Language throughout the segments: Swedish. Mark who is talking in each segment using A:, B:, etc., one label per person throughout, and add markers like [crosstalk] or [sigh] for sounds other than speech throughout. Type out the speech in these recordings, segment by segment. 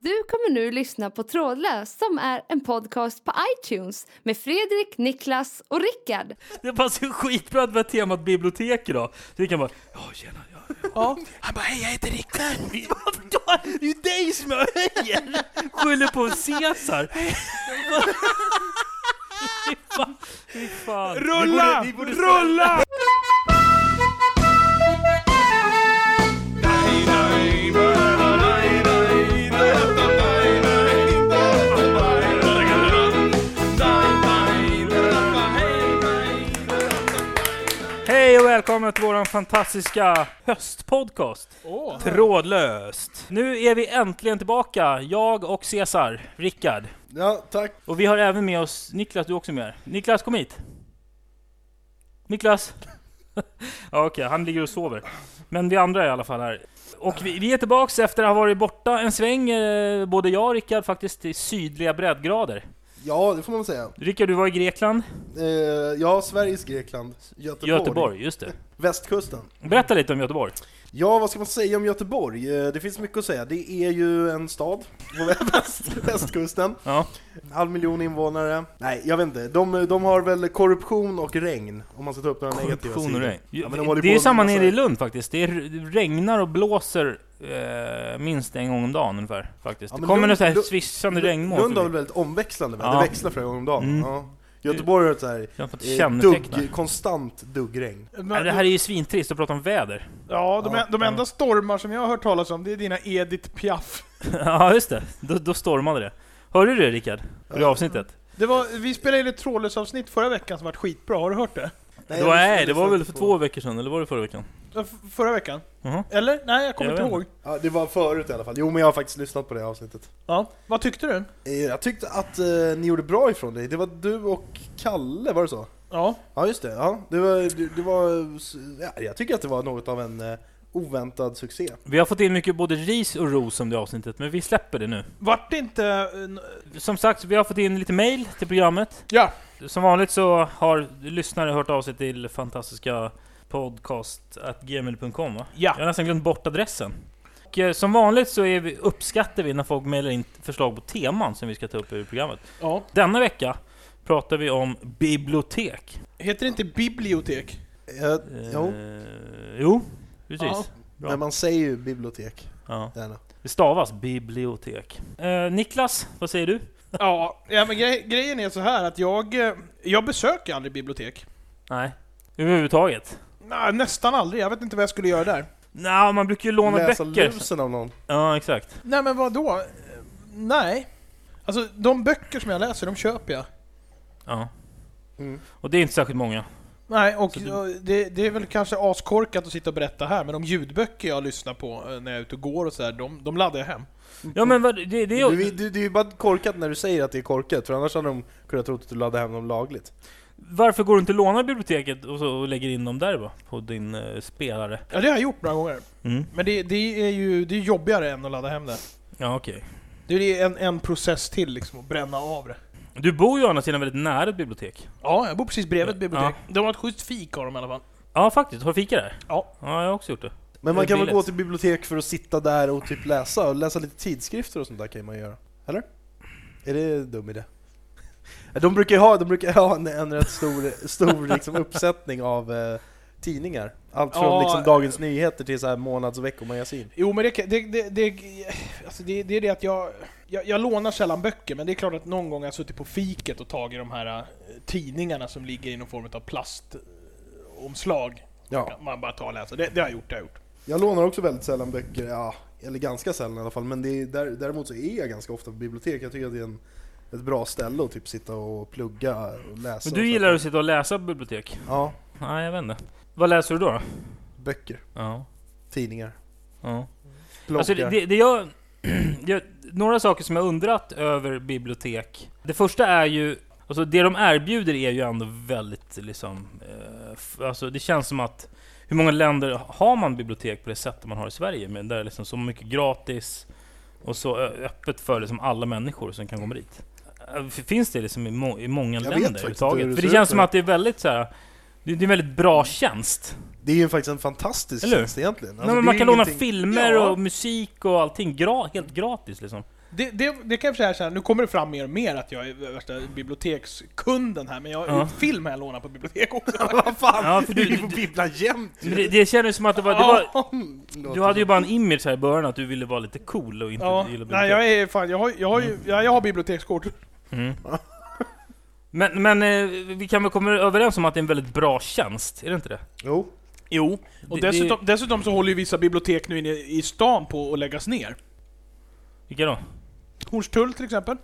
A: Du kommer nu lyssna på Trådlös som är en podcast på iTunes med Fredrik, Niklas och Rickard.
B: Det passar skitbra att vi har temat bibliotek idag. Så vi kan bara, ja tjena, ja,
C: Ja. Han bara hej jag heter
B: [laughs]
C: Rickard.
B: ja. Det är ju dig som jag höjer! Skyller på Caesar. [laughs] Fy fan, fy fan.
C: Rulla!
B: Vi borde- vi borde-
C: Rulla!
B: Hej och välkommen till våran fantastiska höstpodcast. Trådlöst. Nu är vi äntligen tillbaka, jag och Cesar, Rickard.
D: Ja, tack.
B: Och vi har även med oss Niklas, du är också med här. Niklas, kom hit! Niklas! [laughs] ja, okej, han ligger och sover. Men vi andra är i alla fall här. Och vi, vi är tillbaks efter att ha varit borta en sväng, eh, både jag och Rickard faktiskt, till sydliga breddgrader.
D: Ja, det får man säga.
B: Rickard, du var i Grekland,
D: Eh, ja, Sveriges Grekland. Göteborg.
B: Göteborg, just det.
D: Västkusten.
B: Berätta lite om Göteborg.
D: Ja, vad ska man säga om Göteborg? Eh, det finns mycket att säga. Det är ju en stad på [laughs] väst, västkusten.
B: Ja.
D: Halv miljon invånare. Nej, jag vet inte. De, de har väl korruption och regn, om man ska ta upp några negativa
B: Korruption och
D: sidor.
B: regn.
D: Ja, men de
B: det
D: håller
B: det är
D: på
B: ju
D: med
B: samma
D: massa-
B: nere i Lund faktiskt. Det, är, det regnar och blåser eh, minst en gång om dagen ungefär. Faktiskt.
D: Ja,
B: det
D: men
B: kommer
D: Lund-
B: något så här
D: Lund-
B: svissande regnmål.
D: Lund har väl
B: förbi.
D: väldigt omväxlande väder,
B: Ja.
D: det växlar flera gånger om dagen.
B: Mm.
D: Ja. Göteborg har ett så här,
B: Jag har fått
D: eh,
B: känneteckna.
D: dugg, konstant duggregn.
B: Nej, det här är ju svintrist att prata om väder. [laughs]
C: Ja, de,
D: Ja.
C: de enda stormar som jag har hört talas om, det är dina Edith Piaf.
B: ja, just det. Då, då stormade det. Hörde du det Rickard? På det avsnittet?
C: Det var, vi spelade in ett trådlöst avsnitt förra veckan som var skitbra, har du hört det?
B: Nej, det var, nej,
D: jag
B: det var
D: lyssnade liksom
B: väl
D: inte
B: för
D: på-
B: två veckor sedan, eller var det förra veckan?
C: Ja, f- Förra veckan?
B: Mhm.
C: Eller? Nej, jag kommer
B: Jag
C: inte
B: vet
C: ihåg.
D: Ja, det var förut i alla fall. Jo, men jag har faktiskt lyssnat på det avsnittet.
C: Ja. Vad tyckte du?
D: Eh, Jag tyckte att eh, ni gjorde bra ifrån dig. Det var du och Kalle, var det så?
C: Ja.
D: Ja, just det. Ja, det var, det, det var, ja, jag tycker att det var något av en eh, oväntad succé.
B: Vi har fått in mycket både ris och ros om det avsnittet, men vi släpper det nu.
C: Vart det inte... eh, n-
B: Som sagt, vi har fått in lite mail till programmet.
C: Ja.
B: Som vanligt så har lyssnare hört av sig till fantastiska podcast.gmail.com va?
C: Ja.
B: Jag har nästan glömt bort adressen. Och eh, som vanligt så är vi, uppskattar vi när folk mejlar in förslag på teman som vi ska ta upp i programmet.
C: ja.
B: Denna vecka pratar vi om bibliotek.
C: Heter det inte bibliotek?
D: Eh, jo,
B: Eh, jo, precis.
C: Ja.
B: bra.
D: men man säger ju bibliotek.
B: Ja.
D: Gärna.
B: Det stavas bibliotek. Eh, Niklas, vad säger du?
C: Ja, ja men grej, grejen är så här att jag, eh, jag besöker aldrig bibliotek.
B: Nej, överhuvudtaget.
C: Nej, nästan aldrig. Jag vet inte vad jag skulle göra där.
B: Nej, man brukar ju låna
D: Läsa
B: böcker.
D: lusen av någon.
B: Ja, exakt.
C: Nej men vad då? Nej. Alltså de böcker som jag läser, de köper jag.
B: Ja.
D: Mm.
B: Och det är inte särskilt många.
C: Nej, och
B: Så du-
C: och det, det är väl kanske askorkat att sitta och berätta här, men de ljudböcker jag lyssnar på eh, när jag är ute och går och sådär, de, de laddar jag hem.
B: Ja men vad, det, det är
D: Du,
B: ju...
D: du, det är ju bara korkat när du säger att det är korkat, för annars hade de kunnat tro att du laddade hem dem lagligt.
B: Varför går du inte och lånar biblioteket och, så, och lägger in dem där va? På din eh, spelare?
C: Ja, det har jag gjort några gånger.
B: Mm.
C: Men det, det är ju det är jobbigare än att ladda hem det.
B: Ja okej.
C: Det är en, en process till liksom, att bränna av det.
B: Du bor ju å andra sidan väldigt nära ett bibliotek.
C: Ja, jag bor precis bredvid ett bibliotek. De har ett schysst fik har de i alla fall.
B: Ja faktiskt, har du fika där?
C: Ja.
B: Ja, jag har också gjort det.
D: Men
B: Det
D: man
B: är
D: kan väl
B: billigt.
D: gå till bibliotek för att sitta där och typ läsa, och läsa lite tidskrifter och sånt där kan man göra. Eller? Är det en dum idé? [laughs] De brukar ju ha, de brukar ha en, en rätt stor, stor [laughs] liksom uppsättning av eh, tidningar. Allt från
C: Ja.
D: liksom Dagens Nyheter till så här månads och veckomagasin.
C: Jo, men det, kan- det, det, det, alltså det, det är det att jag, jag... Jag lånar sällan böcker, men det är klart att någon gång har jag suttit på fiket och tagit de här eh, tidningarna som ligger i någon form av plastomslag.
D: Ja.
C: Man bara tar och läser. Det, det har jag gjort, det har jag gjort.
D: Jag lånar också väldigt sällan böcker, ja, eller ganska sällan i alla fall, men det är, där, däremot så är jag ganska ofta på bibliotek. Jag tycker att det är en, ett bra ställe att typ sitta och plugga och läsa.
B: Men
D: och
B: du
D: så.
B: gillar att sitta och läsa på bibliotek?
D: Ja,
B: Nej, jag vet inte. Vad läser du då? då?
D: böcker,
B: Ja.
D: tidningar,
B: ja.
D: bloggar.
B: Alltså det, det, det [clears throat] jag, jag... Några saker som jag undrat över bibliotek. Det första är ju... Alltså det de erbjuder är ju ändå väldigt liksom... Eh, f- alltså det känns som att... Hur många länder har man bibliotek på det sättet man har i Sverige? Men där är liksom så mycket gratis och så ö- öppet för liksom alla människor som kan komma dit. Eh, f- Finns det liksom i, må, i många
D: Jag vet
B: länder
D: faktiskt inte hur
B: överhuvudtaget?
D: det
B: För det
D: ser ut
B: känns som
D: nu.
B: att det är väldigt så här. Det det är en väldigt bra tjänst.
D: Det är ju faktiskt en fantastisk
B: Eller hur?
D: tjänst egentligen. Alltså,
B: Nej,
D: det
B: men
D: är
B: man
D: ju
B: kan låna
D: ingenting-
B: filmer
D: Ja.
B: och musik och allting gra helt gratis liksom.
C: Det, det, det kan jag säga så här, nu kommer det fram mer och mer att jag är värsta bibliotekskunden här, men jag,
B: Ja.
C: film har jag lånat på bibliotek [laughs] också.
D: [laughs] Vad fan,
B: Ja, för
D: [laughs] du
B: du-
D: är ju på bibblan jämt!
B: Men det, det kändes som att det var, det var...
D: Låter
B: Du hade ju bara en image här i början att du ville vara lite cool och inte
C: Ja,
B: gilla bibliotek.
C: nej, jag är fan, jag har, jag har, ju- jag, jag har bibliotekskort.
D: [laughs]
B: Mm. Men, men eh, vi kan väl komma överens om att det är en väldigt bra tjänst, är det inte det?
D: Jo.
B: Jo.
C: Och dessutom, dessutom så håller ju vissa bibliotek nu inne i stan på att läggas ner.
B: Vilka då?
C: Hornstull till exempel.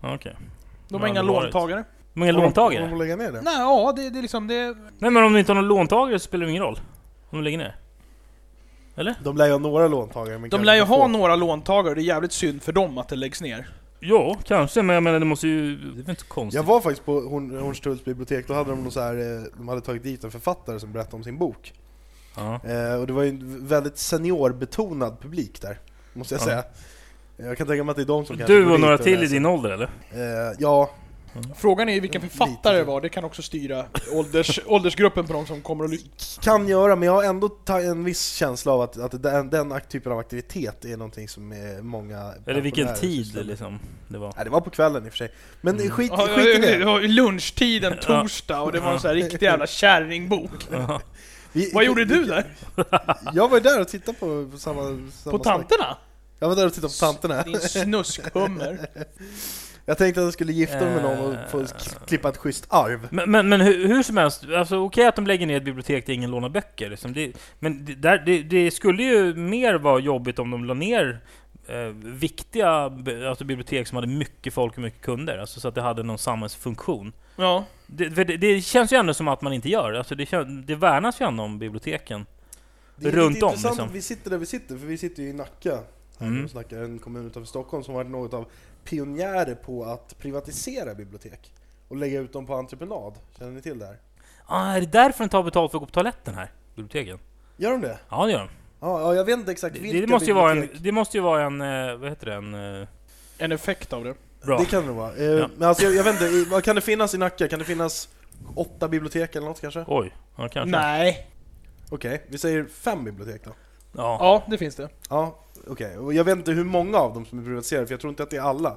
B: Ja, Okej.
C: De
B: Ja,
C: har inga
B: det var det.
C: låntagare.
B: Många
D: Om de-
B: låntagare?
D: Om de lägger ner det?
C: Nej, ja, det, det är liksom det...
B: Nej men om du inte har någon låntagare så spelar det ingen roll. Om du lägger ner.
D: De lär ju ha några låntagare men
C: De
D: kanske
C: lär ju
D: inte få.
C: ha några låntagare, det är jävligt synd för dem att det läggs ner.
B: Ja, kanske, men jag menar det måste ju... Det är väl inte konstigt?
D: Jag var faktiskt på Horn- Hornstulls bibliotek, då hade de någon så här, eh, de hade tagit dit en författare som berättade om sin bok.
B: Ja.
D: Eh, och det var ju en väldigt seniorbetonad publik där, måste jag
B: Ja.
D: säga. Eh, Jag kan tänka mig att det är de som kanske
B: Du
D: går
B: och
D: dit
B: några till i
D: läser.
B: din ålder eller?
D: Eh, ja,
C: Frågan är ju vilken
D: Lite
C: författare det
D: så.
C: var, det kan också styra
D: [laughs]
C: ålders, åldersgruppen på de som kommer att lyssna.
D: kan göra, men jag har ändå ta- en viss känsla av att, att den, den ak- typen av aktivitet är någonting som eh, många
B: Eller vilken
D: pensionärer
B: tid
D: sysslar med.
B: liksom det var.
D: Nej, det var på kvällen i och för sig. Men
B: Mm.
D: skit,
C: Ja,
D: skit i
C: ja,
D: det.
C: ja, Lunchtiden torsdag och det var en sån här riktig jävla kärringbok.
B: Ja.
D: Vi,
C: Vad gjorde du där?
D: [laughs] Jag var ju där och tittade på, på samma, samma
C: På tanterna?
D: sak. Jag var där och tittade på tanterna.
C: Din
D: [laughs]
C: snuskhummer.
D: Jag tänkte att jag skulle gifta mig med någon och
B: Eh.
D: få k- klippa ett schysst arv.
B: Men, men, men hur, hur som helst, alltså okej att de lägger ner ett bibliotek där ingen lånar böcker. Liksom. Det, men det, där, det, det skulle ju mer vara jobbigt om de la ner eh, viktiga b- alltså bibliotek som hade mycket folk och mycket kunder. Alltså så att det hade någon samhällsfunktion.
C: Ja.
B: Det, för det, det känns ju ändå som att man inte gör. Alltså det, kän- det värnas ju ändå om biblioteken.
D: Det är
B: Runt
D: lite
B: om,
D: intressant
B: liksom.
D: att vi sitter där vi sitter, för vi sitter ju i Nacka. Här
B: Mm.
D: och snackar en kommun utanför Stockholm som varit något av pionjärer på att privatisera bibliotek. Och lägga ut dem på entreprenad. Känner ni till det här?
B: Ah, är det därför de tar betalt för att gå på toaletten här? Biblioteken?
D: Gör de det?
B: Ja, det gör de.
D: Ja, ja jag vet inte exakt vilka
B: Det, det, måste ju vara en,
D: bibliotek.
B: det måste ju vara en... eh, Vad heter det? En... eh,
C: En effekt av det.
B: Bra.
D: Det kan det vara. Eh,
B: Ja.
D: Men alltså, jag, jag vet inte, i- vad kan det finnas i Nacka? Kan det finnas åtta bibliotek eller något kanske?
B: Oj. Ja, kanske.
C: Nej.
D: Okej, vi säger fem bibliotek då.
B: Ja.
C: Ja, det finns det.
D: Ja, okej. Och jag vet inte hur många av dem som är privatiserade, för jag tror inte att det är alla.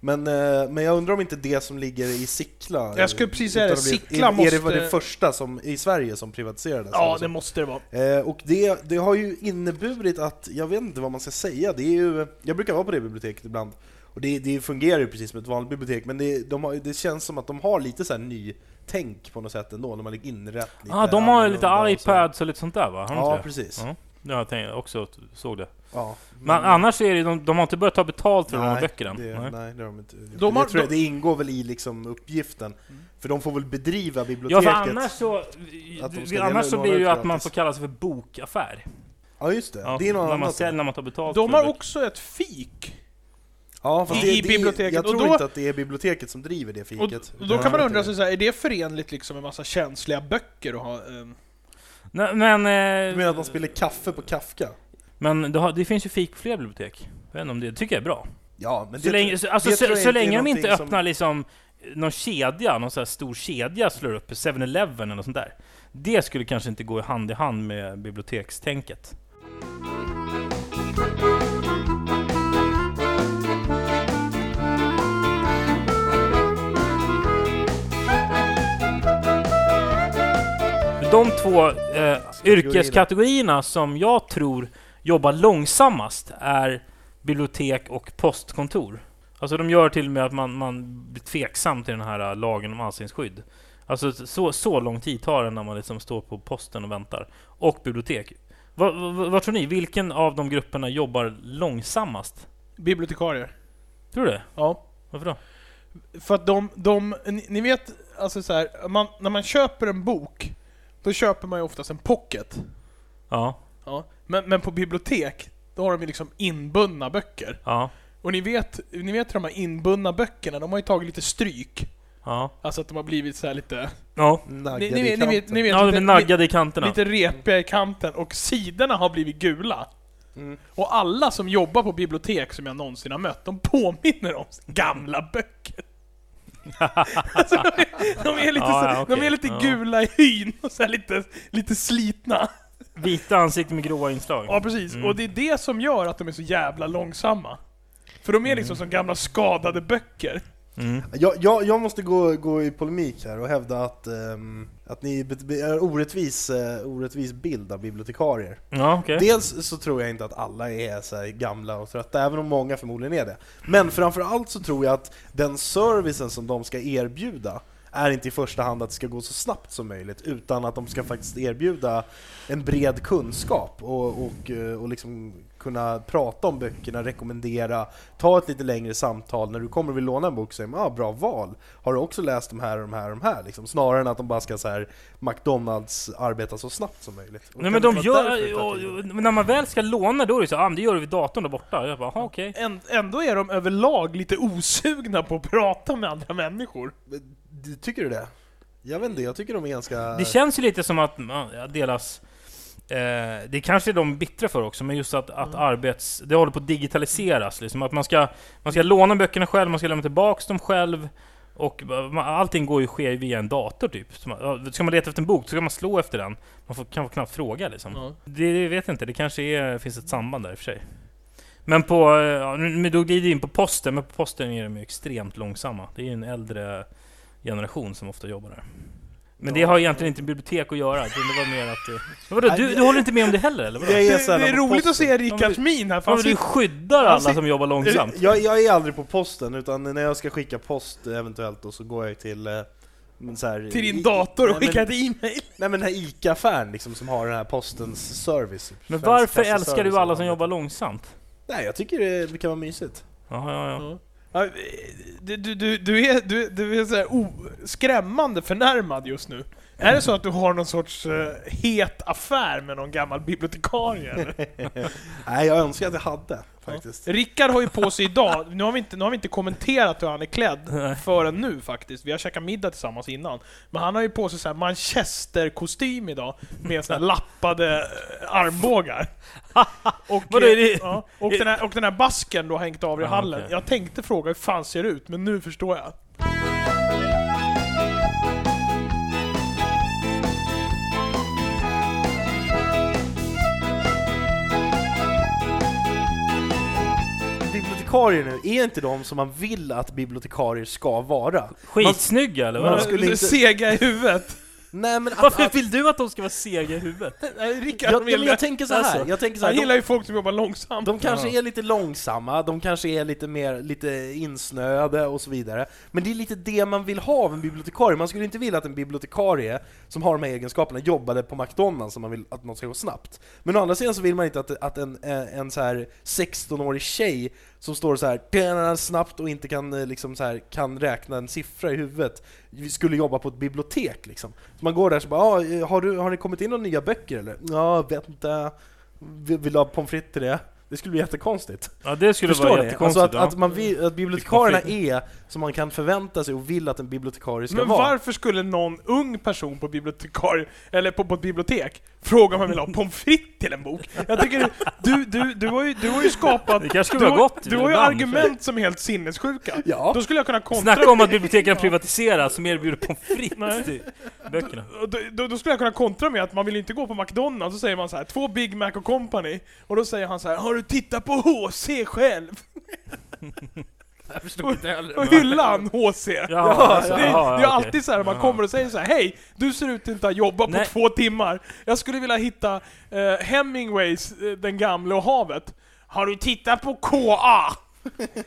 D: Men, eh, men jag undrar om inte det som ligger i Sickla...
C: Jag skulle precis säga
D: utan
C: det.
D: att bli-
C: Sickla
D: är, är det, var
C: måste-
D: det första som, i Sverige som privatiserades?
C: Ja,
D: Eller så.
C: det måste det vara.
D: Eh, och det, det har ju inneburit att, jag vet inte vad man ska säga, det är ju, jag brukar vara på det biblioteket ibland, och det, det fungerar ju precis som ett vanligt bibliotek, men det, de har, det känns som att de har lite så här ny tänk på något sätt ändå, när man ligger inrätt lite
B: ah, de har ju lite
D: annorlunda och så.
B: iPads och lite sånt där va? Har de inte
D: Ja,
B: det?
D: precis.
B: Ja. Ja, jag tänkte också att- såg det.
D: Ja,
B: Men annars så är det, de, de har inte börjat ta betalt för de här böckerna.
D: Det,
B: Nej.
D: Mm. nej. det har de inte.
C: De har-
D: jag tror
C: de-
D: det ingår väl i liksom uppgiften. För de får väl bedriva
B: Mm. Ja,
D: biblioteket.
B: för annars så...
D: Att de ska
B: vi-
D: dela
B: Annars
D: ut
B: så blir det ju
D: gratis.
B: att man får kalla sig för bokaffär.
D: Ja, just det.
B: Ja,
D: det är något
B: när man
D: annat.
B: säljer, när man tar betalt
C: De
B: för
C: har
B: böcker.
C: också ett fik.
D: ja, fast
C: i-
D: det,
C: i
D: det,
C: biblioteket.
D: Jag
C: Och
D: tror
C: då-
D: inte att det är biblioteket som driver det
C: Och
D: fiket.
C: och då kan man undra sig så här, är det förenligt liksom med massa känsliga böcker och ha... ehm,
B: Nej, men...
D: Du
B: eh,
D: menar att de spiller kaffe på Kafka?
B: Men det, har, det finns ju fik på fler bibliotek. Jag vet inte om det tycker jag är bra.
D: Ja, men
B: Så länge, så, alltså,
D: det tror
B: så,
D: jag
B: så
D: inte är
B: länge de inte
D: någonting som-
B: öppnar liksom någon kedja, någon sån här stor kedja slår upp 7-Eleven eller något sånt där. Det skulle kanske inte gå hand i hand med bibliotekstänket. De två eh, yrkeskategorierna som jag tror jobbar långsammast är bibliotek och postkontor. Alltså de gör till och med att man, man blir tveksam till den här eh, lagen om anställningsskydd. Alltså så, så lång tid tar det när man liksom står på posten och väntar. Och bibliotek. Vad, vad, vad tror ni? Vilken av de grupperna jobbar långsammast?
C: bibliotekarier.
B: Tror du det?
C: Ja.
B: Varför då?
C: För att de, de ni, ni vet, alltså så här, man, när man köper en bok, då köper man ju oftast en pocket.
B: Ja,
C: Ja. Men, men på bibliotek, då har de ju liksom inbundna böcker.
B: ja,
C: Och ni vet, ni vet hur de här inbundna böckerna, de har ju tagit lite stryk.
B: ja.
C: Alltså att de har blivit så här lite...
B: Ja,
D: Naggade
C: Ni,
D: i
C: ni, vet, ni
D: kanten.
C: vet, ni vet
B: ja de
C: lite,
B: är naggade i kanterna.
C: lite repiga i kanten och sidorna har blivit gula.
D: Mm.
C: Och alla som jobbar på bibliotek som jag någonsin har mött, de påminner om gamla böcker. [laughs] alltså, de, är, de är lite,
B: Ja,
C: så,
B: ja, okej.
C: de är lite
B: Ja.
C: gula i hyn och så här lite, lite slitna.
B: Vita ansikten med gråa inslag.
C: Ja, precis.
B: Mm.
C: Och det är det som gör att de är så jävla långsamma. För de är liksom som gamla skadade böcker.
B: Mm.
D: Jag, jag, jag måste gå, gå i polemik här och hävda att, ehm, att ni bet- be- är orättvis, eh, orättvis bild av bibliotekarier.
B: Ja, okej.
D: Dels så tror jag inte att alla är så här gamla och trötta, även om många förmodligen är det. Men framförallt så tror jag att den servicen som de ska erbjuda är inte i första hand att det ska gå så snabbt som möjligt, utan att de ska faktiskt erbjuda en bred kunskap och, och, eh, och liksom kunna prata om böckerna, rekommendera, ta ett lite längre samtal. När du kommer och vill låna en bok så säger man ah, ”bra val, har du också läst de här och de här och de här?” liksom, Snarare än att de bara ska så här, McDonalds arbeta så snabbt som möjligt. Och
B: Nej
D: kan
B: men
D: det
B: de
D: vara
B: gör...
D: därför det tar
B: och-
D: tid?
B: och- men när man väl ska låna då är det så, ah, men det gör du vid datorn där borta. Jag bara, aha, okej.
C: Än- Ändå är de överlag lite osugna på att prata med andra människor.
D: Men, du- Tycker du det? Jag vet inte, jag tycker de är ganska...
B: Det känns ju lite som att man ja, delas... Eh, det kanske är de är bittra för också, men just att, att arbets... Det håller på att digitaliseras liksom. Att man ska, man ska låna böckerna själv, man ska lämna tillbaks dem själv. Och man- allting går ju, sker ju via en dator typ. Så man, ja, ska man leta efter en bok så kan man slå efter den. Man får, kan knappt fråga liksom. Det, det vet jag inte, det kanske är, finns ett samband där i och för sig. Men på, eh, ja, nu nu- då glider jag in på posten, men på posten är de ju extremt långsamma. Det är ju en äldre generation som ofta jobbar där. Men det
D: Ja.
B: har egentligen inte med bibliotek att göra, utan det var mer att... eh, [laughs] Men vadå, du, du håller inte med om det heller eller? Vadå?
D: Jag
C: Det,
D: är,
C: det
D: sällan
C: är
D: på
C: roligt
D: posten.
C: att se Rickards min här, för
B: Ja,
C: han
B: men du
C: sitter,
B: skyddar
C: han
B: alla
C: sit-
B: som jobbar långsamt.
D: Jag, jag är aldrig på posten, utan när jag ska skicka post eventuellt då så går jag till... eh, Så här,
C: till din
D: i-
C: dator och
D: nej,
C: skickar
D: men,
C: ett e-mail.
D: Nej men den här ICA-affären liksom, som har den här postens service. typ.
B: Men
D: Svensk
B: varför
D: kassaservice
B: älskar du alla
D: och
B: som
D: annat.
B: jobbar långsamt?
D: Nej, jag tycker det, det kan vara mysigt. [laughs]
B: Jaha, ja, ja.
C: Ja, Du, du, du, du är, du, du är så här o- skrämmande förnärmad just nu. Är det så att du har någon sorts eh, het affär med någon gammal bibliotekarie? eller?
D: Nej, jag önskar att jag hade faktiskt.
C: Rickard har ju på sig idag, nu har, vi inte, nu har vi inte kommenterat hur han är klädd förrän nu faktiskt, vi har käkat middag tillsammans innan. Men han har ju på sig så här manchesterkostym idag, med såna här lappade eh, armbågar. Och, eh,
B: Vadå, är det-
C: ja, och, den här, och den här basken du har hängt av i
B: Ja,
C: hallen.
B: okej.
C: Jag tänkte fråga hur fan ser det ut, men nu förstår jag.
D: Bibliotekarier nu, är inte de som man vill att bibliotekarier ska vara?
B: Skitsnygga eller?
D: Man
B: Vadå?
D: skulle inte-
C: Eh, Sega i huvudet.
D: Nej men att...
B: Varför
D: att
B: vill du att de ska vara sega i huvudet?
C: Nej, Rickard
D: jag, jag,
C: vill
D: jag tänker så här,
B: Alltså,
D: jag tänker så här
C: Han
D: de-
C: gillar ju folk som jobbar långsamt.
D: De kanske
B: Ja.
D: är lite långsamma, de kanske är lite mer lite insnöade och så vidare. Men det är lite det man vill ha av en bibliotekarie. Man skulle inte vilja att en bibliotekarie som har de här egenskaperna jobbade på McDonalds som man vill att något ska gå snabbt. Men å andra sidan så vill man inte att, att en, eh, en så här 16-årig tjej som står så här "Tjena", snabbt och inte kan, eh, liksom så här, kan räkna en siffra i huvudet vi skulle jobba på ett bibliotek liksom. Så man går där så bara ah, eh, har, du, har det kommit in några nya böcker eller? Ja, vänta. Vill, vill du ha pommes frites till det? Det skulle bli jättekonstigt.
B: Ja, det skulle
D: Förstår
B: vara
D: ni? Alltså
B: jättekonstigt.
D: att,
B: ja.
D: att, man vill, att bibliotekarierna är som man kan förvänta sig och vill att en bibliotekarie ska
C: Men
D: vara.
C: varför skulle någon ung person på, bibliotekarie, eller på, på ett bibliotek fråga om man vill ha pommes frites till en bok? Jag tycker du, du, du, har, ju, du har ju skapat...
B: Det kanske skulle
C: du,
B: vara
C: har-
B: gott
C: Du har ju
B: ibland.
C: argument som är helt sinnessjuka.
D: Ja.
C: Då skulle jag kunna kontra...
B: Snacka om att biblioteken privatiseras som erbjuder pommes frites
C: Nej.
B: till böckerna.
C: Då, då, då skulle jag kunna kontra med att man vill ju inte gå på McDonalds, så säger man så här, två Big Mac och company, och då säger han så här, har du tittat på HC själv?
D: Jag förstår
C: Och, och hyllar han HC?
B: Jaha,
C: Det,
B: alltså,
C: är-
B: jaha,
C: det är
B: ja,
C: alltid
B: okej.
C: så här man
B: Jaha.
C: kommer och säger så här: hej, du ser ut att inte ha jobbat på
B: Nej.
C: två timmar. Jag skulle vilja hitta eh, Hemingways eh, Den gamle och havet. Har du tittat på
B: [laughs]
C: KA?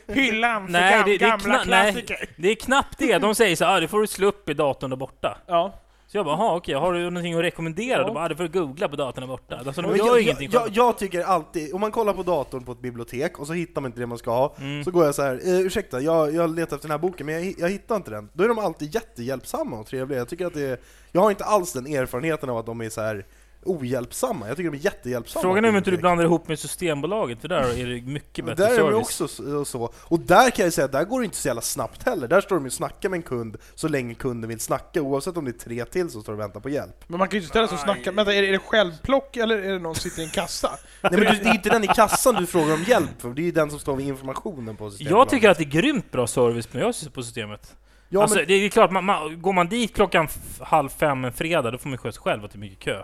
C: Hyllan för
B: Nej,
C: gam-
B: det, det, är
C: gamla
B: kna- nej,
C: klassiker.
B: det är knappt det. De säger så här, "Ah, det får du slå upp i datorn där borta.
C: Ja.
B: Så jag bara, jaha okej, har du någonting att rekommendera?
C: Ja.
B: De bara, "Ah, det får du googla på datorn där borta. Alltså de
D: Men
B: gör
D: jag,
B: ju ingenting
D: jag,
B: själva.
D: jag, jag tycker alltid, om man kollar på datorn på ett bibliotek och så hittar man inte det man ska ha,
B: Mm.
D: så går jag så här, eh, ursäkta, jag, jag letar efter den här boken men jag, hi- jag hittar inte den. Då är de alltid jättehjälpsamma och trevliga. Jag tycker att det är, jag har inte alls den erfarenheten av att de är så här ohjälpsamma. Jag tycker de är jättehjälpsamma.
B: Frågan är om inte du
D: bibliotek.
B: blandar ihop med Systembolaget, för där är det mycket bättre
D: Där är de
B: service.
D: ju också s- så, och där kan jag säga att där går det inte så jävla snabbt heller. Där står de ju och snackar med en kund så länge kunden vill snacka, oavsett om det är tre till så står de och väntar
C: [laughs]
D: på hjälp.
C: Men man kan ju inte ställa sig och snacka, vänta, är det, är det självplock eller är det någon som sitter i en kassa?
D: Nej men du- det är inte den i kassan du frågar om hjälp för, det är ju den som står vid informationen på systemet.
B: Jag tycker att det är grymt bra service på- jag ser på systemet.
D: Ja,
B: alltså,
D: men,
B: det är klart, man, man, går man dit klockan f- halv fem en fredag, då får man ju sköta sig själv att det är mycket kö.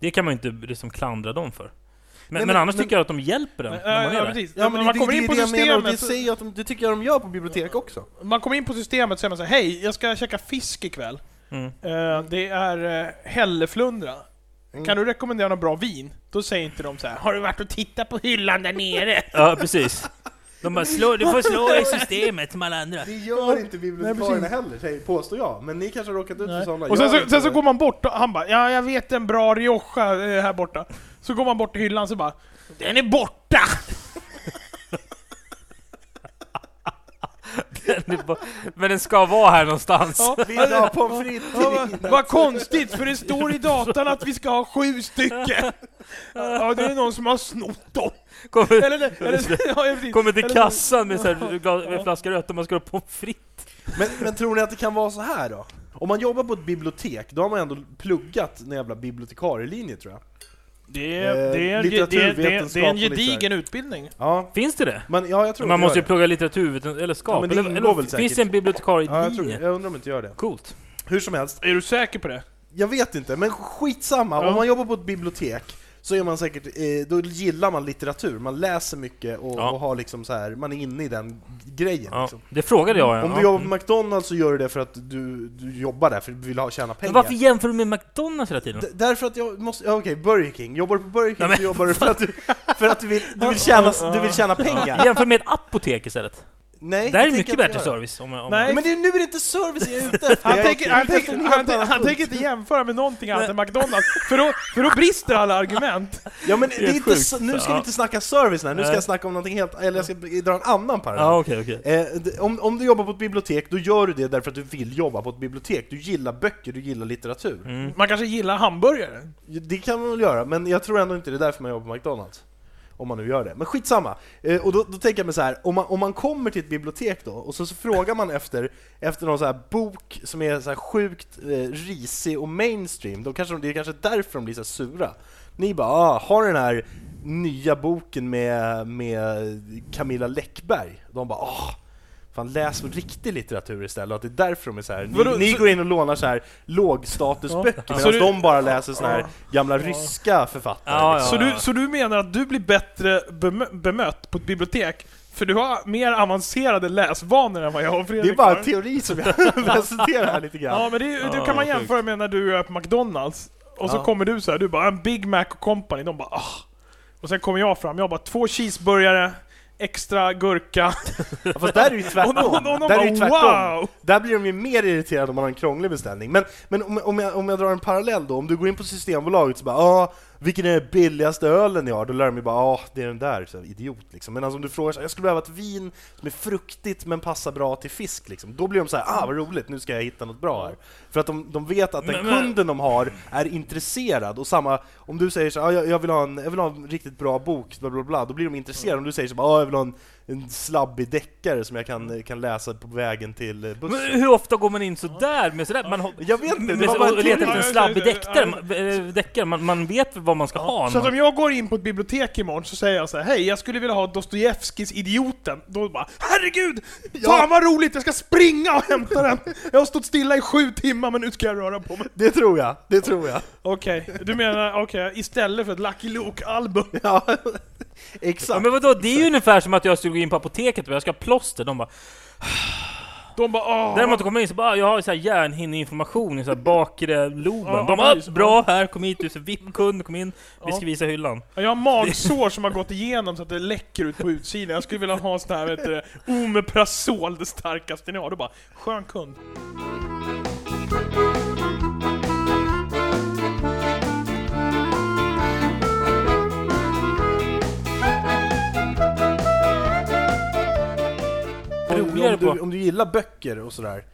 B: Det kan man ju inte liksom klandra dem för. Men, men,
D: men-
B: annars
D: men-
B: tycker jag att de hjälper den
C: Nej,
B: när man
C: Eh, ja,
B: är där.
C: precis.
D: ja,
C: När
D: men
C: man
D: det,
C: kommer
D: det,
C: in på
D: det är det jag menar, och det,
C: systemet,
D: säger jag att de, det tycker jag de gör på bibliotek också.
C: man kommer in på systemet så är man såhär, hej, jag ska käka fisk ikväll.
B: Mm.
C: Eh, det är eh, hälleflundra.
D: Mm.
C: Kan du rekommendera något bra vin? Då säger inte de så här. har du varit och tittat på hyllan där
D: [laughs]
C: nere?
B: Ja, precis. De bara slå, du får slå i systemet som alla andra.
D: Det gör inte
C: Nej,
D: bibliotekarierna heller, säger- påstår jag. Men ni kanske har råkat ut för
C: Nej.
D: sådana.
C: Och sen
D: Jag
C: så,
D: inte
C: sen så
D: det.
C: går man bort och han bara ja, jag vet en bra Rioja eh, här borta. Så går man bort till hyllan så bara den är borta!
B: [laughs] Det är bara- Men den ska vara här någonstans.
C: Ja, [laughs]
D: Vi vill ha pommes frites till
C: Ja,
D: midnatt.
C: vad, vad konstigt för det står i datan att vi ska ha sju
D: [laughs]
C: stycken. Ja, det är någon som har snott dem.
B: Kommer,
C: Eller, eller, eller, [laughs] ja, precis.
B: kommer till
C: Eller-
B: kassan med, så här, gla- med flaska rött och man ska ha pommes frites.
D: Men, men tror ni att det kan vara så här då? Om man jobbar på ett bibliotek, då har man ändå pluggat en jävla bibliotekarielinje tror jag.
C: Det är, det, är,
D: Eh,
C: det, är, det, är, det är en
D: litteraturvetenskap och lite så här.
C: gedigen utbildning.
D: Ja,
B: Finns det det?
D: men, ja jag tror
B: man
D: det
B: måste ju
D: gör
B: plugga litteraturvetenskap.
D: Ja, men det
B: eller,
D: ingår
B: eller,
D: väl
B: finns
D: säkert.
B: det en bibliotekarie
D: det. Ja, jag, tror det.
B: i
D: jag undrar om inte gör det.
B: Coolt.
D: Hur som helst,
C: Är du säker på det?
D: jag vet inte, men skitsamma.
C: Ja.
D: Om man jobbar på ett bibliotek så är man säkert, eh, då gillar man litteratur, man läser mycket och,
B: Ja.
D: och har liksom så här, man är inne i den grejen.
B: Ja,
D: Liksom.
B: det frågade jag. ja. Mm.
D: Om du jobbar på McDonalds så gör du det för att du, du jobbar där, för du vill ha, tjäna pengar.
B: Men varför jämför du med McDonalds hela tiden?
D: D- Därför att jag måste, ja, okej, Burger King. Jobbar du på Burger King
B: Nej, men
D: så jobbar du för att du, för att du, vill, du, vill, tjäna, du vill tjäna pengar.
B: Jämför med ett apotek istället.
D: Nej,
B: Där är
D: det
B: det
D: tänker
B: mycket
D: jag inte
B: bättre
D: göra.
B: service. Om, om
C: Nej.
D: Nej, men det är, nu är det inte service jag är ute efter.
C: Han
D: Jag-
C: tänker,
D: jag
C: han,
D: är ute
C: tänker,
D: efter en
C: han,
D: helt
C: tänker-
D: annan
C: han
D: punkt.
C: tänker inte jämföra med någonting annat än McDonalds, för då, för då brister alla argument.
D: Ja, men det är
B: Helt
D: inte,
B: sjukt.
D: s- nu ska
B: Ja.
D: vi inte snacka service här, nu ska
B: Nej.
D: jag snacka om någonting helt, eller jag ska b- dra en annan parallell.
B: Ja, okej, okej.
D: Eh, d- om, om du jobbar på ett bibliotek, då gör du det därför att du vill jobba på ett bibliotek. Du gillar böcker, du gillar litteratur.
B: Mm.
C: Man kanske gillar hamburgare?
D: Det kan man väl göra, men jag tror ändå inte det är därför man jobbar på McDonalds. Om man nu gör det. Men skitsamma! Eh, och då, då tänker jag mig så här, om man, om man kommer till ett bibliotek då, och så, så frågar man efter, efter någon så här bok som är så här sjukt eh, risig och mainstream, då kanske de, det är kanske därför de blir så här sura. Ni bara ah, har den här nya boken med, med Camilla Läckberg?” De bara ah, Fan läs riktig litteratur istället, och att det är därför de är så här. Ni,
C: Vadå,
D: ni
C: så-
D: går in och lånar så här lågstatusböcker
C: Ja.
D: medan
C: Så du-
D: de bara läser såna här gamla ryska författare.
B: Ja,
D: liksom.
C: Så du, så du menar att du blir bättre bemö- bemött på ett bibliotek för du har mer avancerade läsvanor än vad jag och Fredrik
D: Det är bara
C: har?
D: en teori som jag [laughs] presenterar här lite grann.
C: Ja, men det, är- det
B: Ja,
C: kan man
B: sjukt.
C: jämföra med när du är på McDonalds, och så
D: Ja.
C: kommer du så här, du bara en Big Mac och company, de bara ah. Och sen kommer jag fram, jag bara två cheeseburgare, extra gurka, [laughs]
D: Ja, Fast där är det ju
C: och, och, och,
D: tvärtom.
C: de
D: Där är det ju
C: bara
D: tvärtom.
C: wow!
D: Där blir de ju mer irriterade om man har en krånglig beställning. Men, men om, om, jag, om jag drar en parallell då, om du går in på Systembolaget så bara ah, vilken är den billigaste ölen jag har?” Då lär de ju bara ah, det är den där, så här, idiot liksom. Men alltså, om du frågar så här, “jag skulle behöva ett vin som är fruktigt men passar bra till fisk” liksom. Då blir de så här “ah, vad roligt, nu ska jag hitta något bra här”. För att de, de vet att den
B: Men- men-
D: kunden de har är intresserad. Och samma, om du säger så här, ah, jag, jag, vill ha en, jag vill ha en riktigt bra bok, bla bla bla, då blir de intresserade. Om du säger så här, ah, jag vill ha en, en slabbig deckare som jag kan, kan läsa på vägen till eh, bussen.
B: Men hur ofta går man in sådär med sådär? Man, har-
D: Jag vet inte, det
B: med,
D: var bara en
B: och letar efter
C: teori.
B: en slabbig däckare. Man, eh, däckare. Man, man vet vad man ska ha.
C: Så att
B: när
C: om jag går in på ett bibliotek imorgon så säger jag så här, hej jag skulle vilja ha Dostojevskijs Idioten. Då bara, herregud! Fan vad roligt, jag ska springa och hämta den! Jag har stått stilla i sju timmar men nu ska jag röra på mig.
D: Det tror jag, det tror jag. [laughs]
C: Okej, du menar okej, istället för ett Lucky Luke-album?
D: Ja,
B: Ja,
D: exakt.
B: men vadå, det är ju ungefär som att jag skulle gå in på apoteket och jag ska ha plåster. De bara,
C: De bara "Ah." åh!
B: däremot kommer man in så bara, jag har så här järnhinneinflammation i så här bakre
C: Ja,
B: loben. De
C: ja,
B: bara, "Ah,
C: just det.
B: bra här, kom hit du, så VIP-kund, kom in, vi
C: Ja.
B: ska visa hyllan.
C: Jag har magsår som har gått igenom så att det läcker ut på utsidan. Jag skulle vilja ha en sån här, vet du, Omeprazol, det starkaste ni har. Då bara, skön kund.
D: Om,
B: roligare
D: om, du,
B: på.
D: om du gillar böcker och sådär,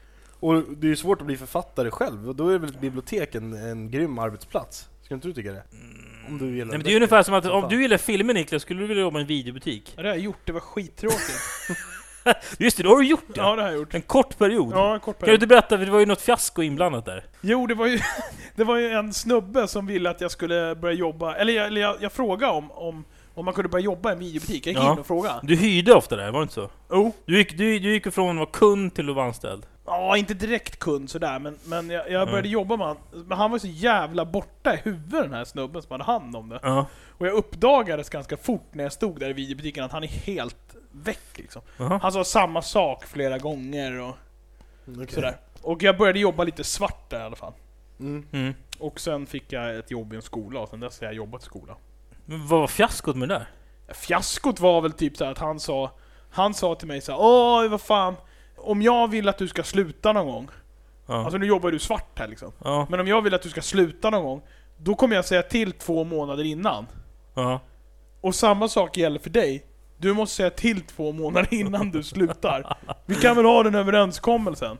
D: och det är ju svårt att bli författare själv, och då är väl ett bibliotek en, en grym arbetsplats? Ska inte du tycka det? Om du gillar
B: Mm. Nej, men det är
D: böcker.
B: ju ungefär som att om
D: Fan.
B: du gillar filmer Niklas, skulle du vilja jobba i en videobutik?
C: Ja, det har jag gjort, det var skittråkigt.
B: Just det, då har du gjort det!
C: [laughs] Ja, det har jag gjort.
B: En kort period.
C: Ja, en kort
B: Kan du
C: period.
B: inte berätta, för det var ju något fiasko inblandat där.
C: Jo, det var, ju, [laughs] det var ju en snubbe som ville att jag skulle börja jobba, eller jag, eller jag, jag frågade om, om, Om man kunde börja jobba i en videobutik, jag gick
B: Ja.
C: in och frågade.
B: Du hyrde ofta där, var det inte så?
C: Jo.
B: Du gick, du, du gick ifrån att vara kund till att vara anställd.
C: Ja, inte direkt kund sådär, men, men jag, jag började jobba med han. Men han var så jävla borta i huvudet den här snubben som hade hand om det.
B: Ja.
C: Och jag uppdagades ganska fort när jag stod där i videobutiken att han är helt väck liksom.
B: Jaha.
C: Han sa samma sak flera gånger och sådär. Och jag började jobba lite svart där i alla fall.
D: Mm.
B: Mm.
C: Och sen fick jag ett jobb i en skola och sen dess har jag jobbat i skola.
B: Men vad var fiaskot med det där?
C: Fiaskot var väl typ så här att han sa Han sa till mig så här, Åh, vad fan Om jag vill att du ska sluta någon gång
B: Ja.
C: Alltså nu jobbar du svart här liksom
B: ja.
C: Men om jag vill att du ska sluta någon gång Då kommer jag säga till två månader innan
B: ja.
C: Och samma sak gäller för dig Du måste säga till två månader innan du slutar Vi kan väl ha den överenskommelsen?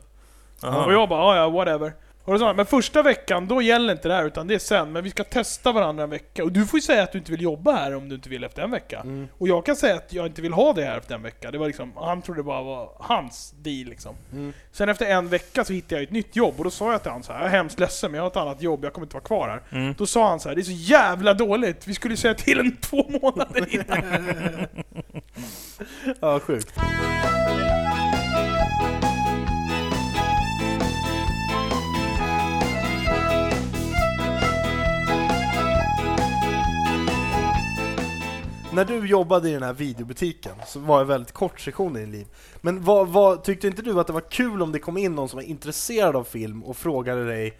B: Aha.
C: Och jag bara, "Ah, "Ja, ja whatever och då sa han, men första veckan, då gäller inte det här utan det är sen, men vi ska testa varandra en vecka. Och du får ju säga att du inte vill jobba här om du inte vill efter en vecka.
D: Mm.
C: Och jag kan säga att jag inte vill ha det här efter en vecka. Det var liksom, han trodde det bara var hans deal liksom.
D: Mm.
C: Sen efter en vecka så hittade jag ett nytt jobb och då sa jag till han så här, jag är hemskt ledsen men jag har ett annat jobb, jag kommer inte vara kvar här.
B: Mm.
C: Då sa han så här, det är så jävla dåligt, vi skulle ju säga till en två månader innan.
D: [laughs] Ja, sjukt. När du jobbade i den här videobutiken så var det en väldigt kort sektion i ditt liv. Men vad, vad, tyckte inte du att det var kul om det kom in någon som var intresserad av film och frågade dig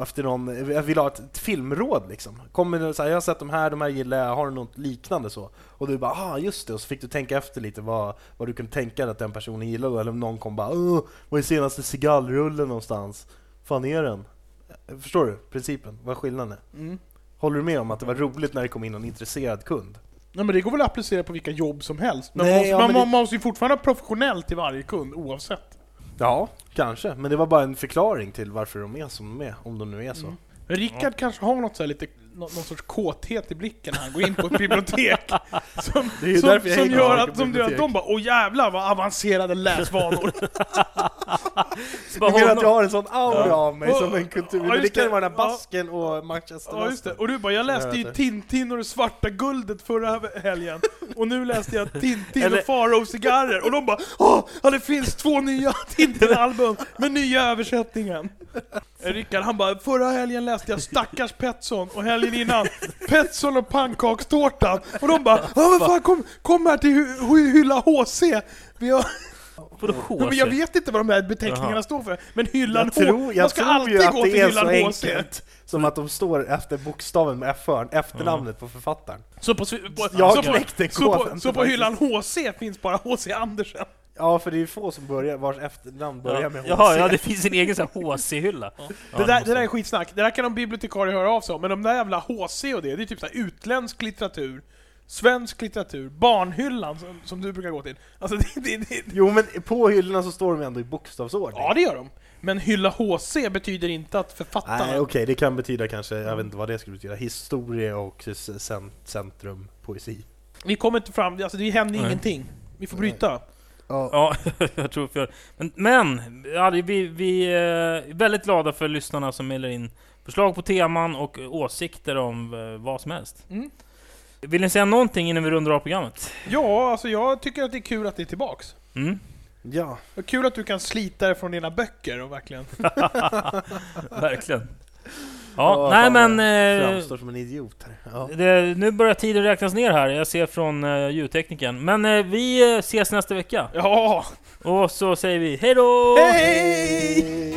D: efter någon, jag vill ha ett, ett filmråd liksom. Kommer det så här, jag har sett de här, de här gillar jag, har du något liknande så? Och du bara ah just det, och så fick du tänka efter lite vad, vad du kunde tänka dig att den personen gillade eller om någon kom bara "Åh, var är senaste cigarrullen någonstans? Fan är den? Eh, Förstår du principen? Vad skillnaden är?
C: Mm.
D: Håller du med om att det var roligt när det kom in en intresserad kund?
C: Nej men det går väl att applicera på vilka jobb som helst. Men
D: Nej,
C: man, måste,
D: ja,
C: man,
D: men det-
C: man måste ju fortfarande vara professionell till varje kund oavsett.
D: Ja, kanske. Men det var bara en förklaring till varför de är som de är, om de nu är så.
C: Men Rickard kanske har något så här lite, nå- någon sorts kåthet i blicken när han går in på ett
D: [laughs]
C: bibliotek. som
D: Det är ju
C: som,
D: därför jag
C: som
D: hänger
C: gör
D: med
C: att, som gör att
D: bibliotek.
C: de bara åh jävlar vad avancerade läsvanor.
B: Bara
D: Du menar att jag
B: honom-
D: har en sån aura
B: Ja.
D: av mig
C: Och-
D: som en kultur...
C: ja,
D: det
C: just
D: kan
C: det.
D: ju vara den här
C: Ja.
D: basken och Manchester
C: Ja just det, och du bara 'Jag läste ju
D: Jag vet
C: Tintin och det svarta guldet förra he- helgen' Och nu läste jag Tintin
B: Eller-
C: och Farao cigarrer och de bara 'Åh, ja, det finns två nya [laughs] Tintin-album med nya översättningen' Eh, Rickard han bara 'Förra helgen läste jag Stackars Petson' och helgen innan 'Petson och pannkakstårtan' Och de bara 'Ja men fan kom, kom här till hy- hy- hylla HC' Vi
D: [laughs]
C: har,
B: Vadå
C: men jag
B: hårsigt?
C: vet inte vad de här beteckningarna
B: Jaha.
C: står för, men hyllan
D: Jag tror,
C: H, man
D: jag
C: ska
D: tror ju
C: alltid
D: att
C: gå
D: det
C: till
D: är så
C: hyllan HC
D: enkelt som att de står efter bokstaven med F-ön, efternamnet på författaren.
C: Så på, sv- på,
D: Jag
C: så
D: knäckte
C: på, så på,
D: koden,
C: så på
D: faktiskt.
C: hyllan HC finns bara HC Andersen.
D: Ja, för det är ju få som börjar, vars efternamn börjar
B: Ja.
D: med HC.
B: Jaha, ja, det finns en egen sån här HC-hylla. Ja,
C: det, där,
B: måste-
C: det där är skitsnack. Det där kan de bibliotekarier höra av sig om, men de där jävla HC och det, det är typ så här utländsk litteratur, svensk litteratur, barnhyllan som, som du brukar gå till. Alltså det, det, det,
D: Jo, men på hyllorna så står de ändå i bokstavsordning.
C: Ja, det gör de. Men hylla HC betyder inte att författarna...
D: Nej, okej, det kan betyda kanske, jag vet inte vad det skulle betyda, historia och s- cen- centrum, poesi.
C: Vi kommer inte fram, alltså det händer
B: Nej.
C: ingenting. Vi får bryta.
B: Ja, [laughs] jag tror för... Men, men ja, det- vi, vi är väldigt glada för lyssnarna som mejlar in förslag på teman och eh, åsikter om eh, vad som helst.
C: Mm.
B: Vill ni säga någonting innan vi rundar av programmet?
C: Ja, alltså jag tycker att det är kul att det är tillbaks.
B: Mm.
D: Ja,
C: Och kul att du kan slita dig från dina böcker och verkligen...
B: Verkligen. Ja,
D: Åh,
B: nej
D: fan,
B: men...
D: jag
B: Eh,
D: framstår som en idiot här. Ja.
B: det, nu börjar tiden räknas ner här, jag ser från eh, ljudtekniken. Men eh, vi eh, ses nästa vecka.
C: Ja!
B: Och så säger vi hej då!
C: Hej!